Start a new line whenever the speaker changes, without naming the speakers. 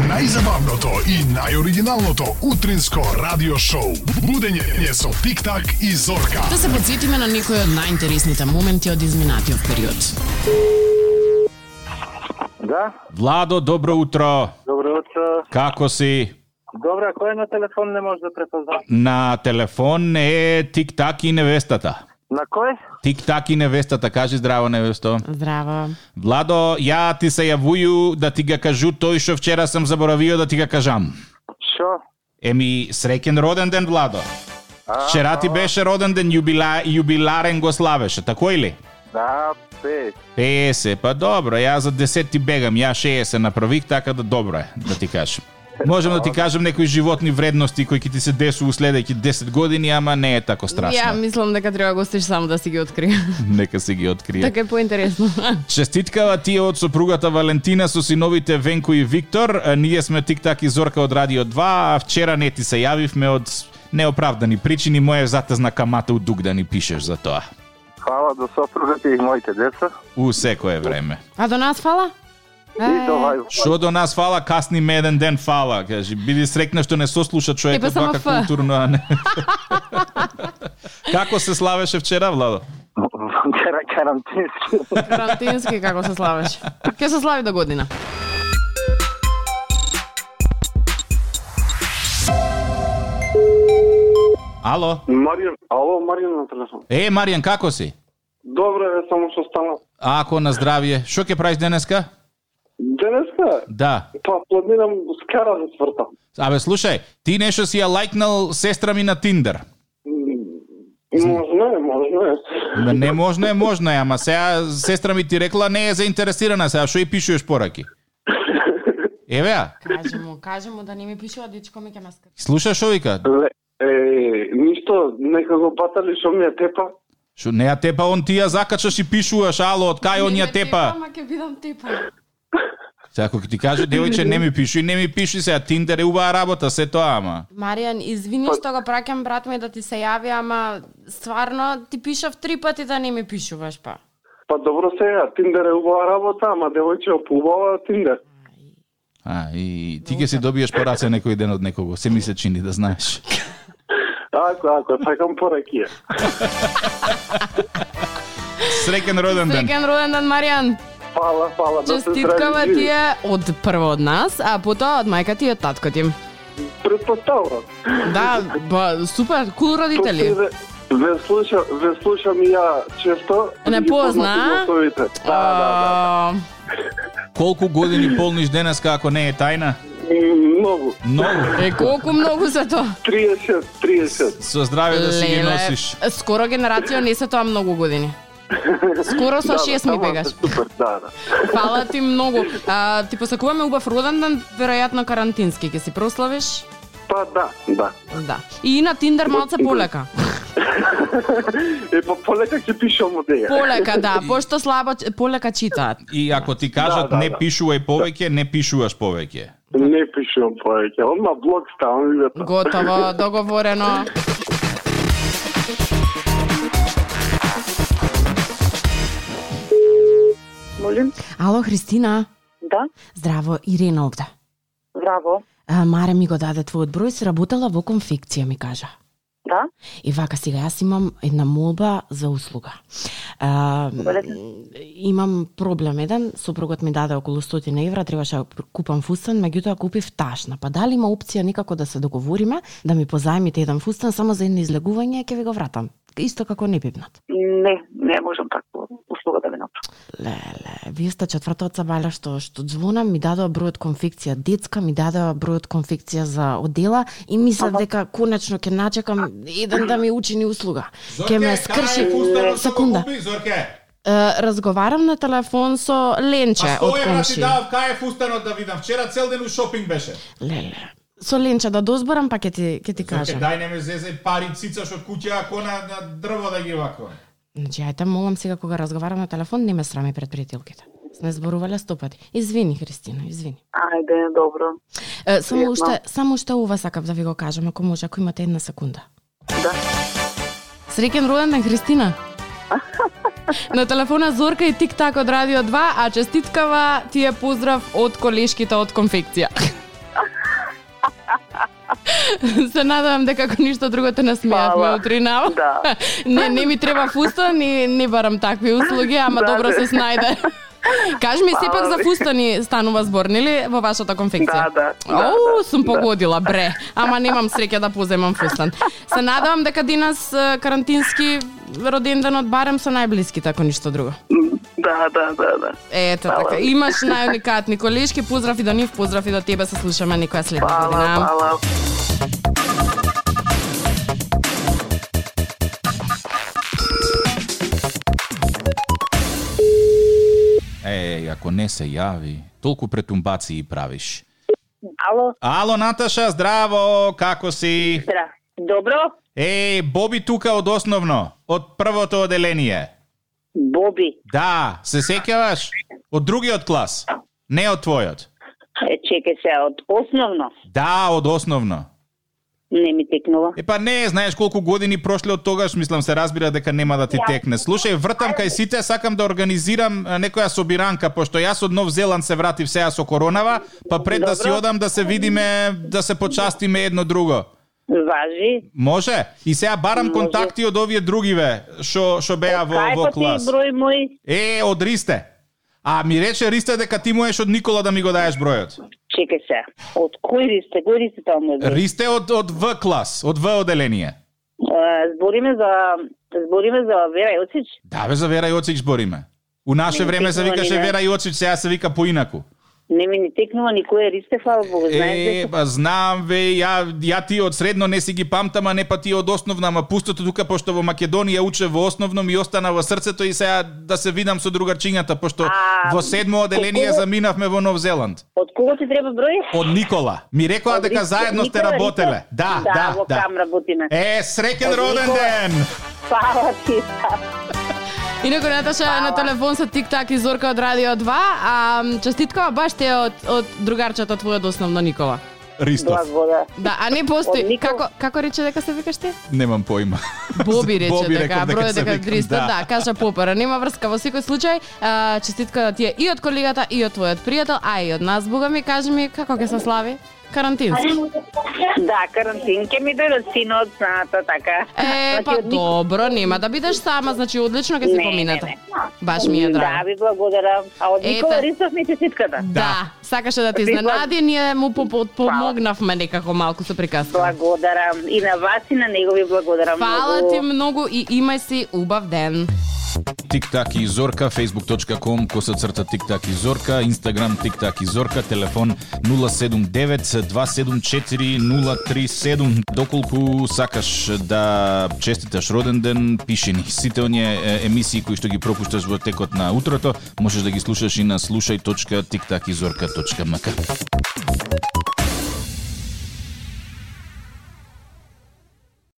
Најзабавното и најоригиналното утринско радио шоу. Будење со Тик-так и Зорка.
Да се подсетиме на некои од најинтересните моменти од изминатиот период.
Да,
Владо, добро утро.
добро утро.
Како си?
Добра, кој на телефон не може да препозна?
На телефон е тик-так и невестата.
На кој?
Тик-так и невестата, кажи здраво невесто.
Здраво.
Владо, ја ти се јавују да ти га кажу тој што вчера сам заборавио да ти га кажам.
Шо?
Еми, среќен роден ден, Владо.
А,
Вчера ти
а,
беше роден ден, јубила, јубиларен го славеше, тако ли?
Да, пе.
50, па добро, ја за 10 ти бегам, ја 60 направих, така да добро е, да ти кажам. Можам да ти кажам некои животни вредности кои ќе ти се десу следеќи 10 години, ама не е тако
Ја
страшно.
мислам дека треба го стиш само да си ги откри.
Нека се ги открие.
така е поинтересно.
Честиткава ти е од сопругата Валентина со синовите Венко и Виктор. А, Ние сме тик-так и Зорка од Радио 2, а вчера не ти се јавивме од неоправдани причини. Моја затезна камата у дуг да ни пишеш за тоа.
Хвала до сопругата и моите деца.
У секое време.
А до нас фала?
И до вас.
Што до нас фала, касни ме еден ден фала, кажи. Биди срекна што не сослуша човек
Епа,
од
само
вака
Ф.
културно, а не. Како се славеше вчера, Владо?
Кара карантински.
Карантински како се славеше. Ке се слави до година.
Ало?
Маријан, ало, Маријан на телефон.
Е, Маријан, како си?
Добро е, само што стана.
Ако на здравје, што ќе правиш денеска?
Денеска,
Да.
па планирам скара за да сврта.
Абе, слушај, ти нешто си ја лайкнал сестра ми на Тиндер.
Можно е, можно е.
Ме, Да, Не можно е, можно е, ама сега сестра ми ти рекла не е заинтересирана сега, што и пишуваш пораки? Еве, ја,
Кажи му, кажи му да не ми пишува дечко ми ќе ме скрпи.
слушаш што вика?
Ле, е, ништо, нека го батали што ми е тепа.
Што не ја тепа, он ти ја закачаш и пишуваш, ало, од кај он ја тепа?
Ама ќе бидам тепа.
Сега, ако ти каже, девојче, не ми пиши, не ми пиши сега, Тиндер е убава работа, се тоа, ама.
Маријан, извини
Па-
што го праќам брат ми да ти се јави, ама стварно ти пишав три пати да не ми пишуваш па.
Па добро се, Тиндер е убава работа, ама девојче убава Тиндер.
А, и ти ќе си добиеш пораца некој ден од некого, се ми се чини да знаеш.
Ако, ако, сакам пораки. е.
Среќен роден ден.
Среќен роден ден Маријан.
Фала, фала, да се
Честиткава
здрави.
ти
живи.
е од прво од нас, а потоа од мајка ти и од татко ти.
Предпоставувам.
Да, ба, супер, кул родители.
Ве- Па, Ве слушам, ве слушам и ја често.
Не
Ги
позна,
познати гласовите. Да, да,
А,
Колку години полниш денеска ако не е тајна?
да. М, Многу.
Многу.
Е, колку многу за тоа.
30, 30.
Со здравје да си ги носиш.
скоро генерација не се тоа многу години. Скоро со 6 ми
таму
бегаш.
е Супер, да, да.
Фала ти многу. А, ти посакуваме убав роден ден, веројатно карантински ќе си прославиш.
Па да, да.
Да. И на Тиндер малце полека.
Е, па полека ќе пишам од неја.
Полека, да, пошто слабо ч- полека читаат.
И ако ти кажат
Да, да,
не
да.
пишувај повеќе, не пишуваш повеќе.
Не пишам повеќе. Одма блок ставам и вето.
Готово, договорено.
Молим,
Ало, Христина.
да,
Здраво, Ирина овде.
здраво,
А, Маре ми го даде твојот број, се работела во конфекција, ми кажа.
да,
И вака сега јас имам една молба за услуга. А,
Добре.
имам проблем еден, супругот ми даде околу 100 евра, требаше да купам фустан, меѓутоа купив ташна. Па дали има опција некако да се договориме, да ми позајмите еден фустан само за едно излегување, ќе ви го вратам. Исто како не пипнат.
не, не можам таква услуга да ви направам.
Леле, вие сте четврта од сабаля што што звонам, ми дадоа бројот конфекција детска, ми дадоа бројот конфекција за одела и мислев дека конечно ќе начекам еден да ми учини услуга. Ќе ме скрши. Секунда.
да Зорке.
Е, разговарам на телефон со Ленче од комши.
кај е фустанот да видам. Вчера цел ден у шопинг беше.
Леле. Со Ленче да дозборам, па ќе ти ќе ти кажам.
дај не ме зезе пари цицаш од куќа, ако на, на дрво да ги вако.
Значи, ајте, молам сега кога разговарам на телефон, не ме срами пред пријателките. Сме зборувале сто пати. Извини, Христина, извини.
Ајде, добро.
Е, само
Пријатно.
уште, само уште ова сакав да ви го кажам, ако може, ако имате една секунда.
Да.
Среќен роден ден, Христина. На телефона Зорка и Тик Так од Радио 2, а честиткава ти е поздрав од колешките од конфекција. се надевам дека ако ништо друго те насмеавме
Фала.
утрина.
Да.
Не, не ми треба фуста, ни не барам такви услуги, ама
Да,
добро
бе.
се снајде. Каж ми сепак
Фала
за
ви.
фуста ни станува збор, нели, во вашата конфекција?
Да, да, да,
Оу,
да,
сум
да.
погодила, бре. Ама немам среќа да поземам фустан. Се надевам дека денес е, карантински роденденот барем со најблиските, ако ништо друго.
Да, да, да, да.
Ето
Фала
така.
ви.
Имаш најуникатни колешки. Поздрав и до нив, поздрав и до тебе. Се слушаме некоја следна година.
Да.
Фала, фала.
Е, ако не се јави, толку претумбации правиш.
Ало,
Ало, Наташа, здраво, како си?
здра. Добро?
Е, Боби тука од основно, од првото оделение.
Боби,
Да, се сеќаваш? Од другиот клас, не од твојот.
е, чекай се, од основно
Да, од основно.
не ми текнува.
Е па не, знаеш колку години прошле од тогаш, мислам се разбира дека нема да ти текне. Слушај, вртам кај сите, сакам да организирам а, некоја собиранка, пошто јас од Нов Зеланд се вратив сега со коронава, па пред да си
Добро.
одам да се видиме, да се почастиме едно друго.
Важи.
Може? И сега барам
Може.
контакти од овие другиве, што што беа во,
Кај
во
па ти
клас.
број мој?
Е, од Ристе. А ми рече Ристе дека ти му еш од Никола да ми го даеш бројот.
Чекай се. Од кој ристе? Кој ристе тоа мој број?
Ристе од од В клас, од В оделение.
Е, Збориме за збориме за Вера Јосич.
Да, бе, за Вера Јоцич бориме. У наше
Не,
време се
текнува
викаше
ни, да.
Вера Јоцич, сега се вика поинаку.
Не ми ни текнува никој ристе, фала Богу, знаеш
Е,
дека.
па знам ве, ја, ја ти од средно не си ги памтам, а не па ти од основна, ама пустото тука, пошто во Македонија уче во основно ми остана во срцето и сега да се видам со другарчињата, пошто
А,
во седмо оделение
кого-
заминавме во Нов Зеланд.
Од кого ти треба број?
Од Никола. Ми рекоа
Од
дека
Ристе-
заедно сте
Никола
работеле.
Ристе?
Да,
Да,
да,
во
да.
Крам работиме.
Е, среќен
Од
роден
Никола.
ден!
Фала ти.
Инаку Наташа е на телефон со Тик-так и Зорка од Радио 2, а м, честиткава баш те од, од другарчето твојот основно Никола.
Ристов,
Благодар.
Да, а не постои.
Од Никол-
Како, како рече дека се викаш ти?
немам поима.
Боби рече
Боби
дека,
реков дека
број
се
дека
викам,
300, да.
да.
да, кажа попара, нема врска во секој случај. А, честитка да ти е и од колегата, и од твојот пријател, а и од нас, Буга ми, кажи ми како ќе се слави карантински.
Да, карантин ќе ми дојдат синот, знаата така.
Е,
Значи,
па
од Никола-
добро, нема да бидеш сама, значи одлично ќе си
Не,
поминете.
не,
Баш ми е
Да,
драго.
ви благодарам. А од
Ете.
Никола Рисов ми честитката.
Да, сакаше да те
Ви благ-
изненади, ние му по- по- помогнавме некако малку со приказка.
Благодарам. И на вас и на него ви благодарам.
Фала
многу.
ти многу и имај си убав ден.
Тик-так и Зорка, facebook.com, коса црта Тик-так и Зорка, Instagram Тик-так и Зорка, телефон 079-274-037. Доколку сакаш да честиташ роден ден, пиши ни. Сите оние е, емисии кои што ги пропушташ во текот на утрото, можеш да ги слушаш и на слушај.тиктакизорка.мк.